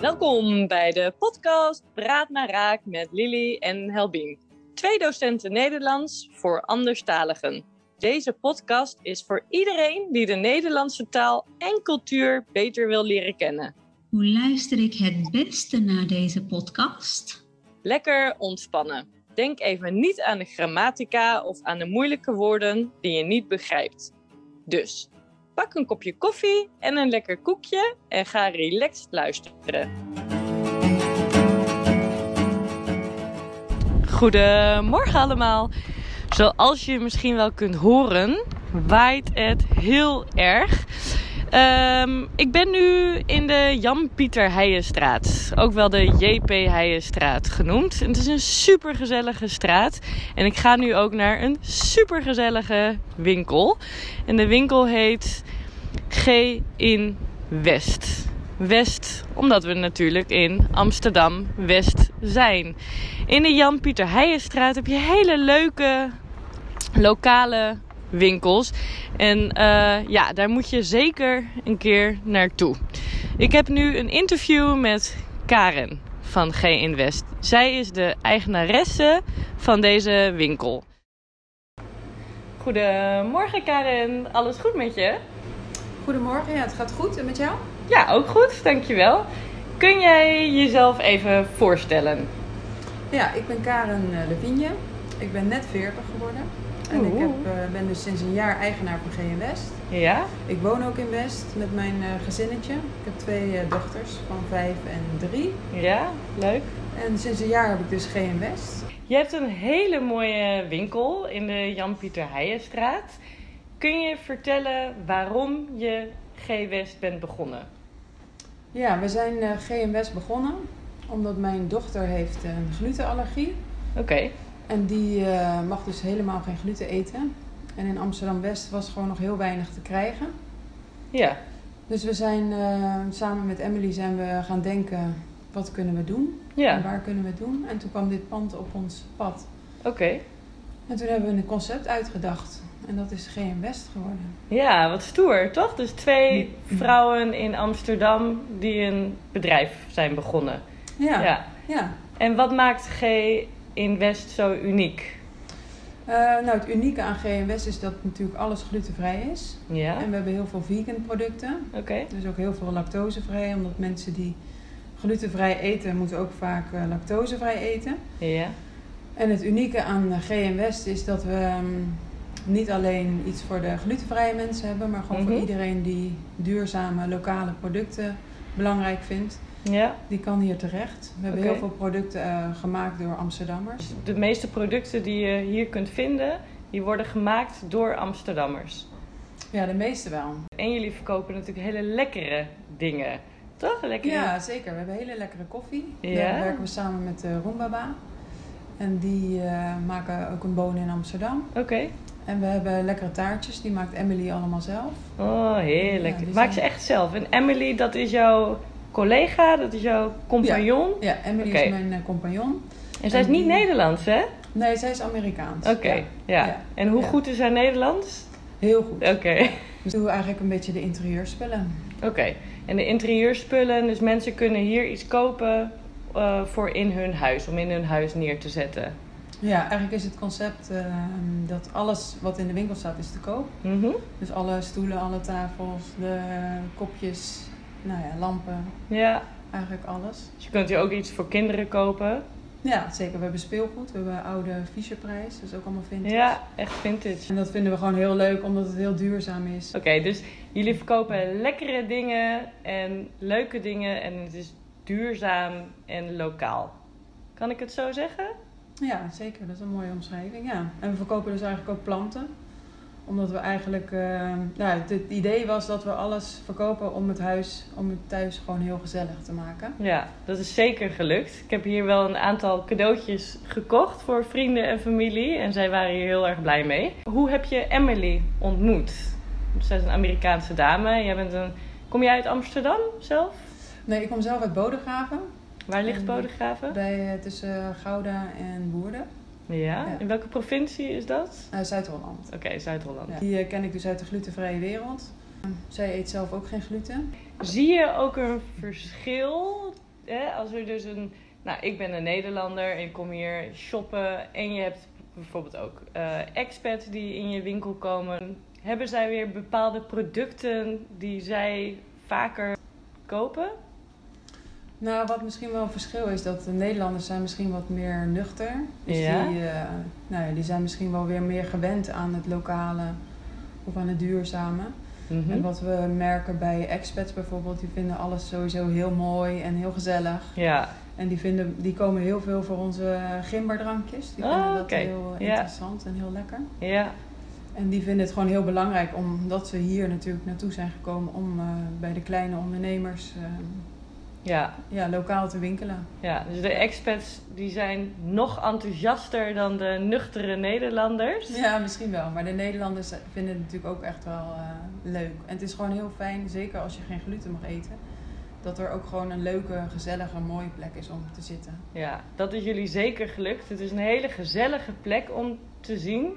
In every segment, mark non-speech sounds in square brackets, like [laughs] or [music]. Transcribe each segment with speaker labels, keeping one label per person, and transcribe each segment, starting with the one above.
Speaker 1: Welkom bij de podcast Praat maar Raak met Lily en Helbien. Twee docenten Nederlands voor anderstaligen. Deze podcast is voor iedereen die de Nederlandse taal en cultuur beter wil leren kennen.
Speaker 2: Hoe luister ik het beste naar deze podcast?
Speaker 1: Lekker ontspannen. Denk even niet aan de grammatica of aan de moeilijke woorden die je niet begrijpt. Dus pak een kopje koffie en een lekker koekje en ga relaxed luisteren. Goedemorgen allemaal. Zoals je misschien wel kunt horen, waait het heel erg. Ehm, ik ben nu in de Jan-Pieter Heijenstraat, ook wel de JP Heijenstraat genoemd. En het is een supergezellige straat en ik ga nu ook naar een supergezellige winkel. En de winkel heet G in West. West, omdat we natuurlijk in Amsterdam West zijn. In de Jan-Pieter Heijenstraat heb je hele leuke lokale winkels. En eh, ja, daar moet je zeker een keer naartoe. Ik heb nu een interview met Karen van G Invest. Zij is de eigenaresse van deze winkel. Goedemorgen Karen, alles goed met je?
Speaker 3: Goedemorgen, ja, het gaat goed. En met jou?
Speaker 1: Ja, ook goed, dankjewel. Kun jij jezelf even voorstellen?
Speaker 3: Ja, ik ben Karen eh, Levigne. Ik ben net 40 geworden. En ik
Speaker 1: Oeh.
Speaker 3: heb, eh, ben dus sinds een jaar eigenaar van GN West.
Speaker 1: Ja?
Speaker 3: Ik woon ook in West met mijn eh, gezinnetje. Ik heb twee eh, dochters van vijf en drie.
Speaker 1: Ja, leuk.
Speaker 3: En sinds een jaar heb ik dus GN West.
Speaker 1: Je hebt een hele mooie winkel in de Jan-Pieter Heijenstraat. Kun je vertellen waarom je G-West bent begonnen?
Speaker 3: Ja, we zijn eh GN West begonnen omdat mijn dochter heeft eh, een glutenallergie.
Speaker 1: Oké.
Speaker 3: En die eh, mag dus helemaal geen gluten eten. En in Amsterdam West was gewoon nog heel weinig te krijgen.
Speaker 1: Ja.
Speaker 3: Dus we zijn eh, samen met Emily zijn we gaan denken, wat kunnen we doen? En
Speaker 1: Ja.
Speaker 3: waar kunnen we het doen? En toen kwam dit pand op ons pad.
Speaker 1: Oké.
Speaker 3: En toen hebben we een concept uitgedacht. En dat is GM West geworden.
Speaker 1: Ja, wat stoer, toch? Dus twee vrouwen in Amsterdam die een bedrijf zijn begonnen.
Speaker 3: Ja, ja.
Speaker 1: En wat maakt G in West zo uniek?
Speaker 3: Eh, nou, het unieke aan GM West is dat natuurlijk alles glutenvrij is.
Speaker 1: Ja.
Speaker 3: En
Speaker 1: Oké.
Speaker 3: we hebben heel veel vegan producten. Dus ook heel veel lactosevrij. Omdat mensen die glutenvrij eten, moeten ook vaak eh, lactosevrij eten.
Speaker 1: Ja.
Speaker 3: En het unieke aan eh, GM West is dat we ehm, niet alleen iets voor de glutenvrije mensen hebben, maar gewoon
Speaker 1: Mhm.
Speaker 3: voor iedereen die duurzame lokale producten belangrijk vindt.
Speaker 1: Ja.
Speaker 3: Die kan hier terecht. We hebben
Speaker 1: Oké.
Speaker 3: heel veel producten eh, gemaakt door Amsterdammers.
Speaker 1: Dus de meeste producten die je hier kunt vinden, die worden gemaakt door Amsterdammers.
Speaker 3: Ja, de meeste wel.
Speaker 1: En jullie verkopen natuurlijk hele lekkere dingen. Toch? Lekkere
Speaker 3: Ja, zeker. We hebben hele lekkere koffie.
Speaker 1: Ja.
Speaker 3: Daar werken we samen met eh Roombaba. En die eh, maken ook een boon in Amsterdam.
Speaker 1: Oké.
Speaker 3: En we hebben lekkere taartjes. Die maakt Emily allemaal zelf.
Speaker 1: Oh, heerlijk.
Speaker 3: Ja, die
Speaker 1: Maak ze
Speaker 3: zijn-
Speaker 1: echt zelf. En Emily, dat is jouw collega, dat is jouw compagnon.
Speaker 3: Ja, Emily
Speaker 1: Oké.
Speaker 3: is mijn eh, compagnon.
Speaker 1: En zij is
Speaker 3: En
Speaker 1: niet
Speaker 3: die-
Speaker 1: Nederlands, hè? Oké,
Speaker 3: Nee, zij is Amerikaans. Ja.
Speaker 1: ja.
Speaker 3: Ja.
Speaker 1: En hoe
Speaker 3: Ja.
Speaker 1: goed is haar Nederlands?
Speaker 3: Heel goed.
Speaker 1: Oké. [laughs]
Speaker 3: Dus doen we eigenlijk een beetje de interieurspellen.
Speaker 1: Oké. En de interieurspullen, dus mensen kunnen hier iets kopen eh, voor in hun huis, om in hun huis neer te zetten.
Speaker 3: Ja, eigenlijk is het concept ehm, dat alles wat in de winkel staat is te koop.
Speaker 1: Mhm.
Speaker 3: Dus alle stoelen, alle tafels, de eh, kopjes, nou ja, lampen,
Speaker 1: Ja.
Speaker 3: eigenlijk alles.
Speaker 1: Dus je kunt hier ook iets voor kinderen kopen.
Speaker 3: Ja, zeker. We hebben speelgoed, we hebben oude Fischerprijs, dus ook allemaal vintage.
Speaker 1: Ja, echt vintage.
Speaker 3: En dat vinden we gewoon heel leuk, omdat het heel duurzaam is.
Speaker 1: Oké, dus jullie verkopen lekkere dingen en leuke dingen en het is duurzaam en lokaal. Kan ik het zo zeggen?
Speaker 3: Ja, zeker. Dat is een mooie omschrijving. Ja. En we verkopen dus eigenlijk ook planten. Omdat we eigenlijk. eh, nou, het, het idee was dat we alles verkopen om het huis, om het thuis gewoon heel gezellig te maken.
Speaker 1: Ja, dat is zeker gelukt. Ik heb hier wel een aantal cadeautjes gekocht voor vrienden en familie en zij waren hier heel erg blij mee. Hoe heb je Emily ontmoet? Zij is een Amerikaanse dame. Jij bent een... Kom jij uit Amsterdam zelf?
Speaker 3: Nee, ik kom zelf uit Bodegraven.
Speaker 1: Waar ligt
Speaker 3: Eh,
Speaker 1: Bodegraven?
Speaker 3: Bij, eh, tussen Gouda en Woerden.
Speaker 1: Ja?
Speaker 3: Ja.
Speaker 1: In welke provincie is dat?
Speaker 3: Eh, Zuid-Holland.
Speaker 1: Oké, Zuid-Holland.
Speaker 3: Ja. Die eh, ken ik dus uit de glutenvrije wereld. Zij eet zelf ook geen gluten.
Speaker 1: Zie je ook een verschil? Hè? Als er dus een. Nou, ik ben een Nederlander en ik kom hier shoppen. En je hebt bijvoorbeeld ook eh expats die in je winkel komen. Hebben zij weer bepaalde producten die zij vaker kopen?
Speaker 3: Nou, wat misschien wel een verschil is, dat de Nederlanders zijn misschien wat meer nuchter. Dus
Speaker 1: Ja.
Speaker 3: die, eh, nou ja, die zijn misschien wel weer meer gewend aan het lokale of aan het duurzame.
Speaker 1: Mhm.
Speaker 3: En wat we merken bij expats bijvoorbeeld, die vinden alles sowieso heel mooi en heel gezellig.
Speaker 1: Ja,
Speaker 3: En die, vinden, die komen heel veel voor onze gimberdrankjes. Die vinden
Speaker 1: Oh,
Speaker 3: dat
Speaker 1: oké.
Speaker 3: heel
Speaker 1: Ja.
Speaker 3: interessant en heel lekker.
Speaker 1: ja,
Speaker 3: En die vinden het gewoon heel belangrijk, omdat ze hier natuurlijk naartoe zijn gekomen om eh, bij de kleine ondernemers eh,
Speaker 1: ja,
Speaker 3: ja, lokaal te winkelen.
Speaker 1: ja. Dus de expats die zijn nog enthousiaster dan de nuchtere Nederlanders.
Speaker 3: Ja, misschien wel. Maar de Nederlanders vinden het natuurlijk ook echt wel eh, leuk. En het is gewoon heel fijn, zeker als je geen gluten mag eten, dat er ook gewoon een leuke, gezellige, mooie plek is om te zitten.
Speaker 1: Ja, dat is jullie zeker gelukt. Het is een hele gezellige plek om te zien.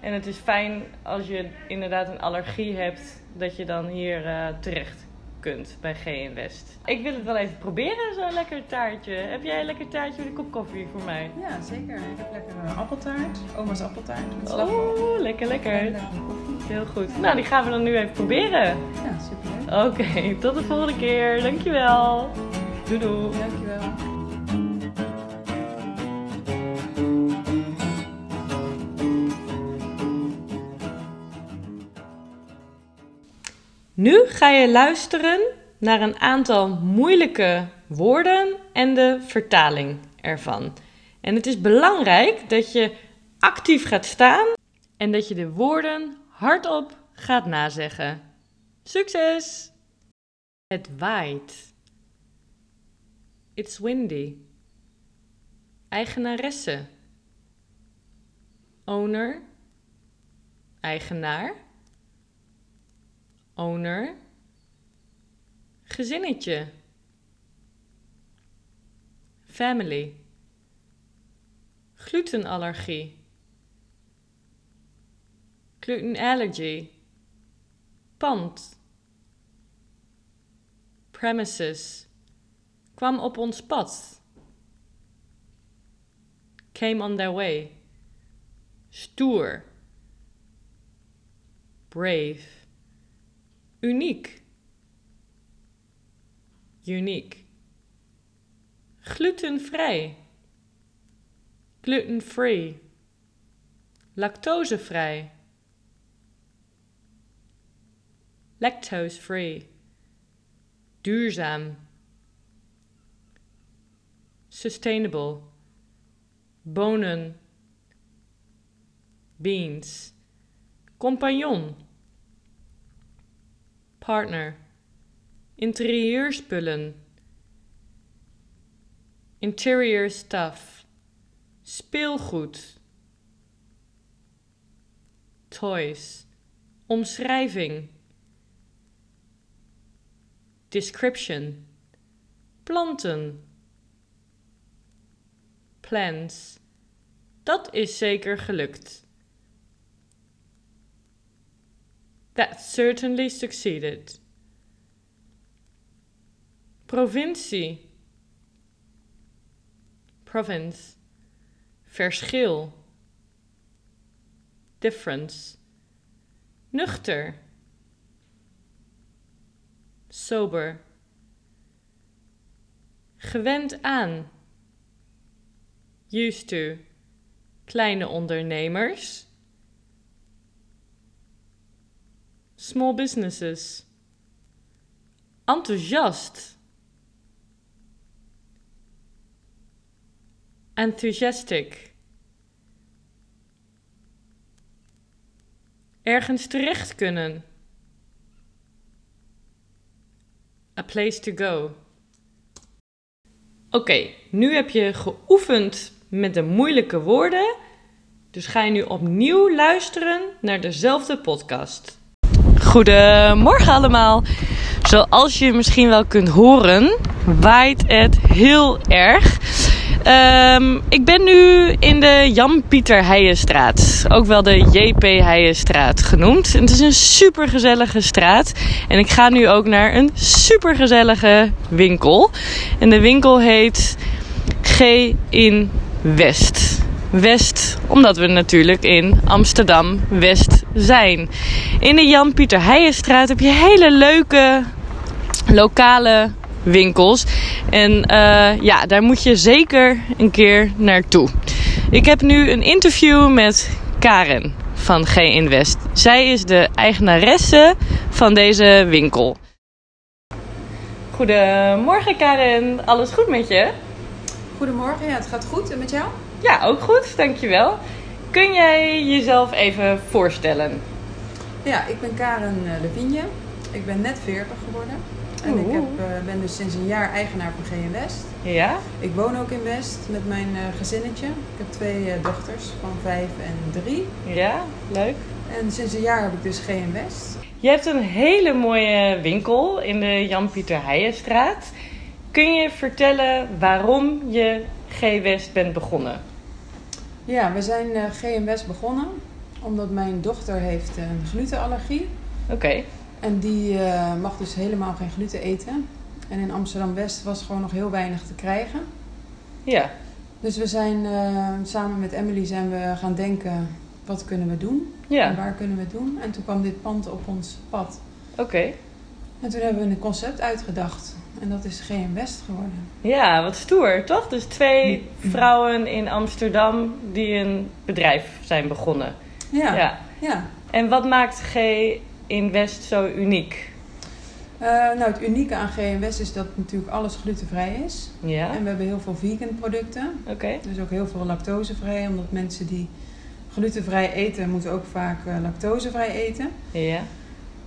Speaker 1: En het is fijn als je inderdaad een allergie hebt, dat je dan hier eh, terecht kunt bij GN West. Ik wil het wel even proberen, zo'n lekker taartje. Heb jij een lekker taartje met een kop koffie voor mij?
Speaker 3: Ja, zeker. Ik heb lekker eh, appeltaart, oma's appeltaart met slagroom.
Speaker 1: Oh, lekker,
Speaker 3: En
Speaker 1: lekker.
Speaker 3: lekkere koffie.
Speaker 1: Heel goed. Nou, die gaan we dan nu even proberen.
Speaker 3: Ja, superleuk.
Speaker 1: Oké, tot de volgende keer. Dankjewel. Doei doei.
Speaker 3: Dankjewel.
Speaker 1: Nu ga je luisteren naar een aantal moeilijke woorden en de vertaling ervan. En het is belangrijk dat je actief gaat staan en dat je de woorden hardop gaat nazeggen. Succes! Het waait. It's windy. Eigenaresse. Owner. Eigenaar owner, gezinnetje, family, glutenallergie, gluten allergy, pand, premises, kwam op ons pad, came on their way, stoer, brave uniek. Uniek. Glutenvrij. Glutenfree. Lactosevrij. Lactose-free. Duurzaam. Sustainable. Bonen. Beans. Compagnon partner, interieurspullen, interior stuff, speelgoed, toys, omschrijving, description, planten, plans. Dat is zeker gelukt. That certainly succeeded. Provincie. Province. Verschil. Difference. Nuchter. Sober. Gewend aan. Used to. Kleine ondernemers. Small businesses. Enthousiast. Enthusiastic. Ergens terecht kunnen. A place to go. Oké, nu heb je geoefend met de moeilijke woorden. Dus ga je nu opnieuw luisteren naar dezelfde podcast. Goedemorgen allemaal. Zoals je misschien wel kunt horen, waait het heel erg. Ehm, ik ben nu in de Jan-Pieter Heijenstraat. Ook wel de JP Heijenstraat genoemd. En het is een supergezellige straat. En ik ga nu ook naar een supergezellige winkel. En de winkel heet G in West. West, omdat we natuurlijk in Amsterdam West zijn. In de Jan-Pieter Heijenstraat heb je hele leuke lokale winkels. En eh, ja, daar moet je zeker een keer naartoe. Ik heb nu een interview met Karen van G-Invest. Zij is de eigenaresse van deze winkel. Goedemorgen Karen, alles goed met je?
Speaker 3: Goedemorgen, ja, het gaat goed. En met jou?
Speaker 1: Ja, ook goed, dankjewel. Kun jij jezelf even voorstellen?
Speaker 3: Ja, ik ben Karen eh, Levigne. Ik ben net 40 geworden. En ik
Speaker 1: Oeh.
Speaker 3: heb, eh, ben dus sinds een jaar eigenaar van GN West.
Speaker 1: Ja?
Speaker 3: Ik woon ook in West met mijn eh, gezinnetje. Ik heb twee eh, dochters van vijf en drie.
Speaker 1: Ja, leuk.
Speaker 3: En sinds een jaar heb ik dus GN West.
Speaker 1: Je hebt een hele mooie winkel in de Jan-Pieter Heijenstraat. Kun je vertellen waarom je G-West bent begonnen?
Speaker 3: Ja, we zijn eh, GN West begonnen omdat mijn dochter heeft een glutenallergie.
Speaker 1: Oké,
Speaker 3: En die eh, mag dus helemaal geen gluten eten. En in Amsterdam West was gewoon nog heel weinig te krijgen.
Speaker 1: ja.
Speaker 3: Dus we zijn eh, samen met Emily zijn we gaan denken, wat kunnen we doen? En
Speaker 1: Ja,
Speaker 3: waar kunnen we het doen? En toen kwam dit pand op ons pad.
Speaker 1: oké.
Speaker 3: En toen hebben we een concept uitgedacht. En dat is GM West geworden.
Speaker 1: Ja, wat stoer, toch? Dus twee vrouwen in Amsterdam die een bedrijf zijn begonnen.
Speaker 3: Ja, ja.
Speaker 1: Ja. En wat maakt G in West zo uniek?
Speaker 3: Eh, nou, het unieke aan GM West is dat natuurlijk alles glutenvrij is.
Speaker 1: Ja,
Speaker 3: En we hebben heel veel vegan producten.
Speaker 1: oké.
Speaker 3: Dus ook heel veel lactosevrij. Omdat mensen die glutenvrij eten, moeten ook vaak eh, lactosevrij eten.
Speaker 1: Ja,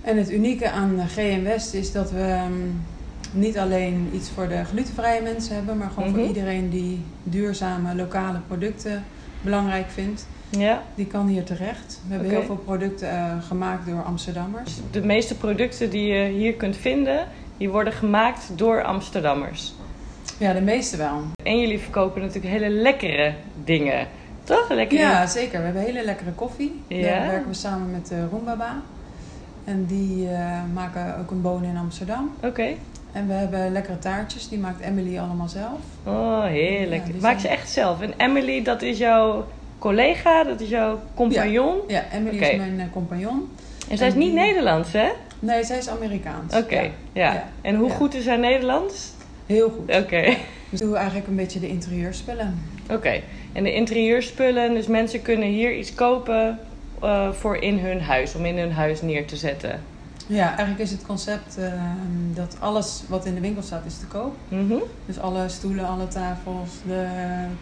Speaker 3: En het unieke aan eh, GM West is dat we ehm, niet alleen iets voor de glutenvrije mensen hebben, maar gewoon
Speaker 1: Mhm.
Speaker 3: voor iedereen die duurzame lokale producten belangrijk vindt.
Speaker 1: ja.
Speaker 3: Die kan hier terecht. We hebben
Speaker 1: Oké.
Speaker 3: heel veel producten eh, gemaakt door Amsterdammers.
Speaker 1: Dus de meeste producten die je hier kunt vinden, die worden gemaakt door Amsterdammers.
Speaker 3: Ja, de meeste wel.
Speaker 1: En jullie verkopen natuurlijk hele lekkere dingen. Toch? Lekkere.
Speaker 3: Ja, zeker. We hebben hele lekkere koffie.
Speaker 1: Ja.
Speaker 3: Daar werken we samen met eh Roombaba. En die eh, maken ook een boon in Amsterdam.
Speaker 1: Oké.
Speaker 3: En we hebben lekkere taartjes. Die maakt Emily allemaal zelf.
Speaker 1: Oh, heerlijk.
Speaker 3: Ja, die
Speaker 1: Maak ze
Speaker 3: zijn-
Speaker 1: echt zelf. En Emily, dat is jouw collega, dat is jouw compagnon.
Speaker 3: Ja, Emily
Speaker 1: Oké.
Speaker 3: is mijn eh, compagnon.
Speaker 1: En zij is
Speaker 3: En
Speaker 1: niet
Speaker 3: die-
Speaker 1: Nederlands, hè?
Speaker 3: Nee, zij is Amerikaans.
Speaker 1: Oké,
Speaker 3: Ja.
Speaker 1: ja.
Speaker 3: Ja.
Speaker 1: En hoe
Speaker 3: Ja.
Speaker 1: goed is haar Nederlands?
Speaker 3: Heel goed.
Speaker 1: Oké, [laughs]
Speaker 3: Dus doen we eigenlijk een beetje de interieurspullen.
Speaker 1: oké. En de interieurspullen, dus mensen kunnen hier iets kopen eh, voor in hun huis, om in hun huis neer te zetten.
Speaker 3: Ja, eigenlijk is het concept eh, dat alles wat in de winkel staat is te koop.
Speaker 1: Mhm.
Speaker 3: Dus alle stoelen, alle tafels, de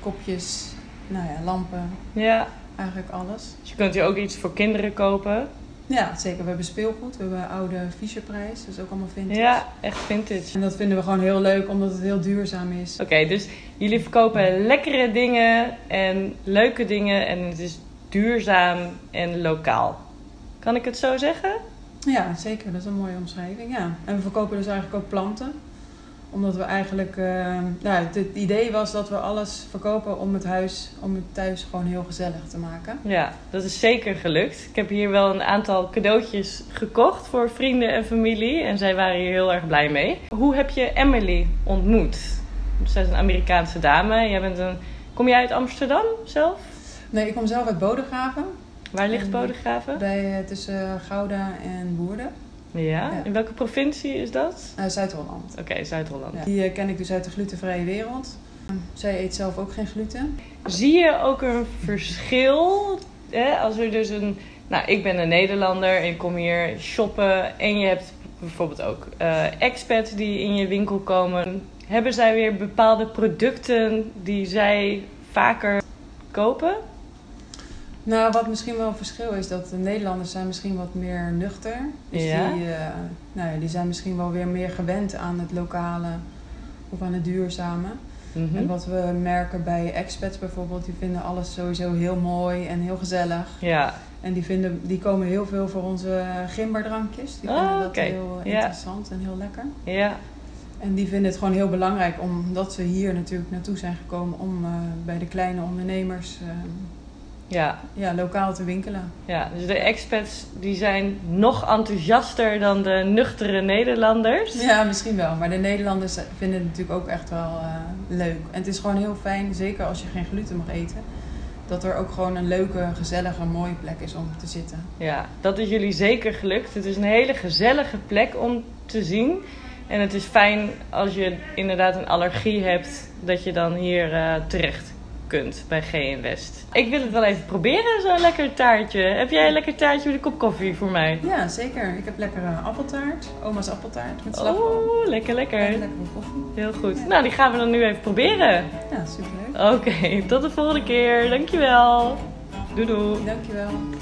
Speaker 3: kopjes, nou ja, lampen,
Speaker 1: Ja,
Speaker 3: eigenlijk alles.
Speaker 1: dus je kunt hier ook iets voor kinderen kopen.
Speaker 3: Ja, zeker. We hebben speelgoed, we hebben oude Fischerprijs, dus ook allemaal vintage.
Speaker 1: Ja, echt vintage.
Speaker 3: En dat vinden we gewoon heel leuk, omdat het heel duurzaam is.
Speaker 1: Oké, dus jullie verkopen lekkere dingen en leuke dingen en het is duurzaam en lokaal. Kan ik het zo zeggen?
Speaker 3: Ja, zeker. Dat is een mooie omschrijving, ja. En we verkopen dus eigenlijk ook planten. Omdat we eigenlijk... eh, nou, het, het idee was dat we alles verkopen om het huis, om het thuis gewoon heel gezellig te maken.
Speaker 1: Ja, dat is zeker gelukt. Ik heb hier wel een aantal cadeautjes gekocht voor vrienden en familie en zij waren hier heel erg blij mee. Hoe heb je Emily ontmoet? Zij is een Amerikaanse dame. Jij bent een... Kom jij uit Amsterdam zelf?
Speaker 3: Nee, ik kom zelf uit Bodegraven.
Speaker 1: Waar ligt
Speaker 3: Eh,
Speaker 1: Bodegraven?
Speaker 3: Bij, eh, tussen Gouda en Woerden.
Speaker 1: Ja.
Speaker 3: Ja.
Speaker 1: In welke provincie is dat?
Speaker 3: eh, Zuid-Holland.
Speaker 1: Oké, Zuid-Holland.
Speaker 3: Ja. Die eh, ken ik dus uit de glutenvrije wereld. Zij eet zelf ook geen gluten.
Speaker 1: Zie je ook een verschil? Hè? Als er dus een. Nou, ik ben een Nederlander en ik kom hier shoppen. En je hebt bijvoorbeeld ook eh expats die in je winkel komen. Hebben zij weer bepaalde producten die zij vaker kopen?
Speaker 3: Nou, wat misschien wel een verschil is, dat de Nederlanders zijn misschien wat meer nuchter. Dus
Speaker 1: Ja.
Speaker 3: die, eh, nou ja, die zijn misschien wel weer meer gewend aan het lokale of aan het duurzame.
Speaker 1: Mhm.
Speaker 3: En wat we merken bij expats bijvoorbeeld, die vinden alles sowieso heel mooi en heel gezellig.
Speaker 1: Ja,
Speaker 3: En die, vinden, die komen heel veel voor onze gimberdrankjes. Die
Speaker 1: Oh,
Speaker 3: vinden dat
Speaker 1: oké.
Speaker 3: heel
Speaker 1: Ja.
Speaker 3: interessant en heel lekker.
Speaker 1: ja.
Speaker 3: En die vinden het gewoon heel belangrijk, omdat ze hier natuurlijk naartoe zijn gekomen om eh, bij de kleine ondernemers eh,
Speaker 1: Ja,
Speaker 3: ja, lokaal te winkelen.
Speaker 1: ja, dus de expats die zijn nog enthousiaster dan de nuchtere Nederlanders.
Speaker 3: Ja, misschien wel. Maar de Nederlanders vinden het natuurlijk ook echt wel eh, leuk. En het is gewoon heel fijn, zeker als je geen gluten mag eten, dat er ook gewoon een leuke, gezellige, mooie plek is om te zitten.
Speaker 1: Ja, dat is jullie zeker gelukt. Het is een hele gezellige plek om te zien. En het is fijn als je inderdaad een allergie hebt, dat je dan hier eh, terecht kunt bij GN West. Ik wil het wel even proberen, zo'n lekker taartje. Heb jij een lekker taartje met een kop koffie voor mij?
Speaker 3: Ja, zeker. Ik heb lekkere appeltaart. Oma's appeltaart met slagroom.
Speaker 1: Oeh, lekker
Speaker 3: En
Speaker 1: lekker.
Speaker 3: lekkere koffie.
Speaker 1: Heel goed. Nou, die gaan we dan nu even proberen.
Speaker 3: Ja, superleuk.
Speaker 1: Oké, tot de volgende keer. Dankjewel. Doei doei.
Speaker 3: Dankjewel.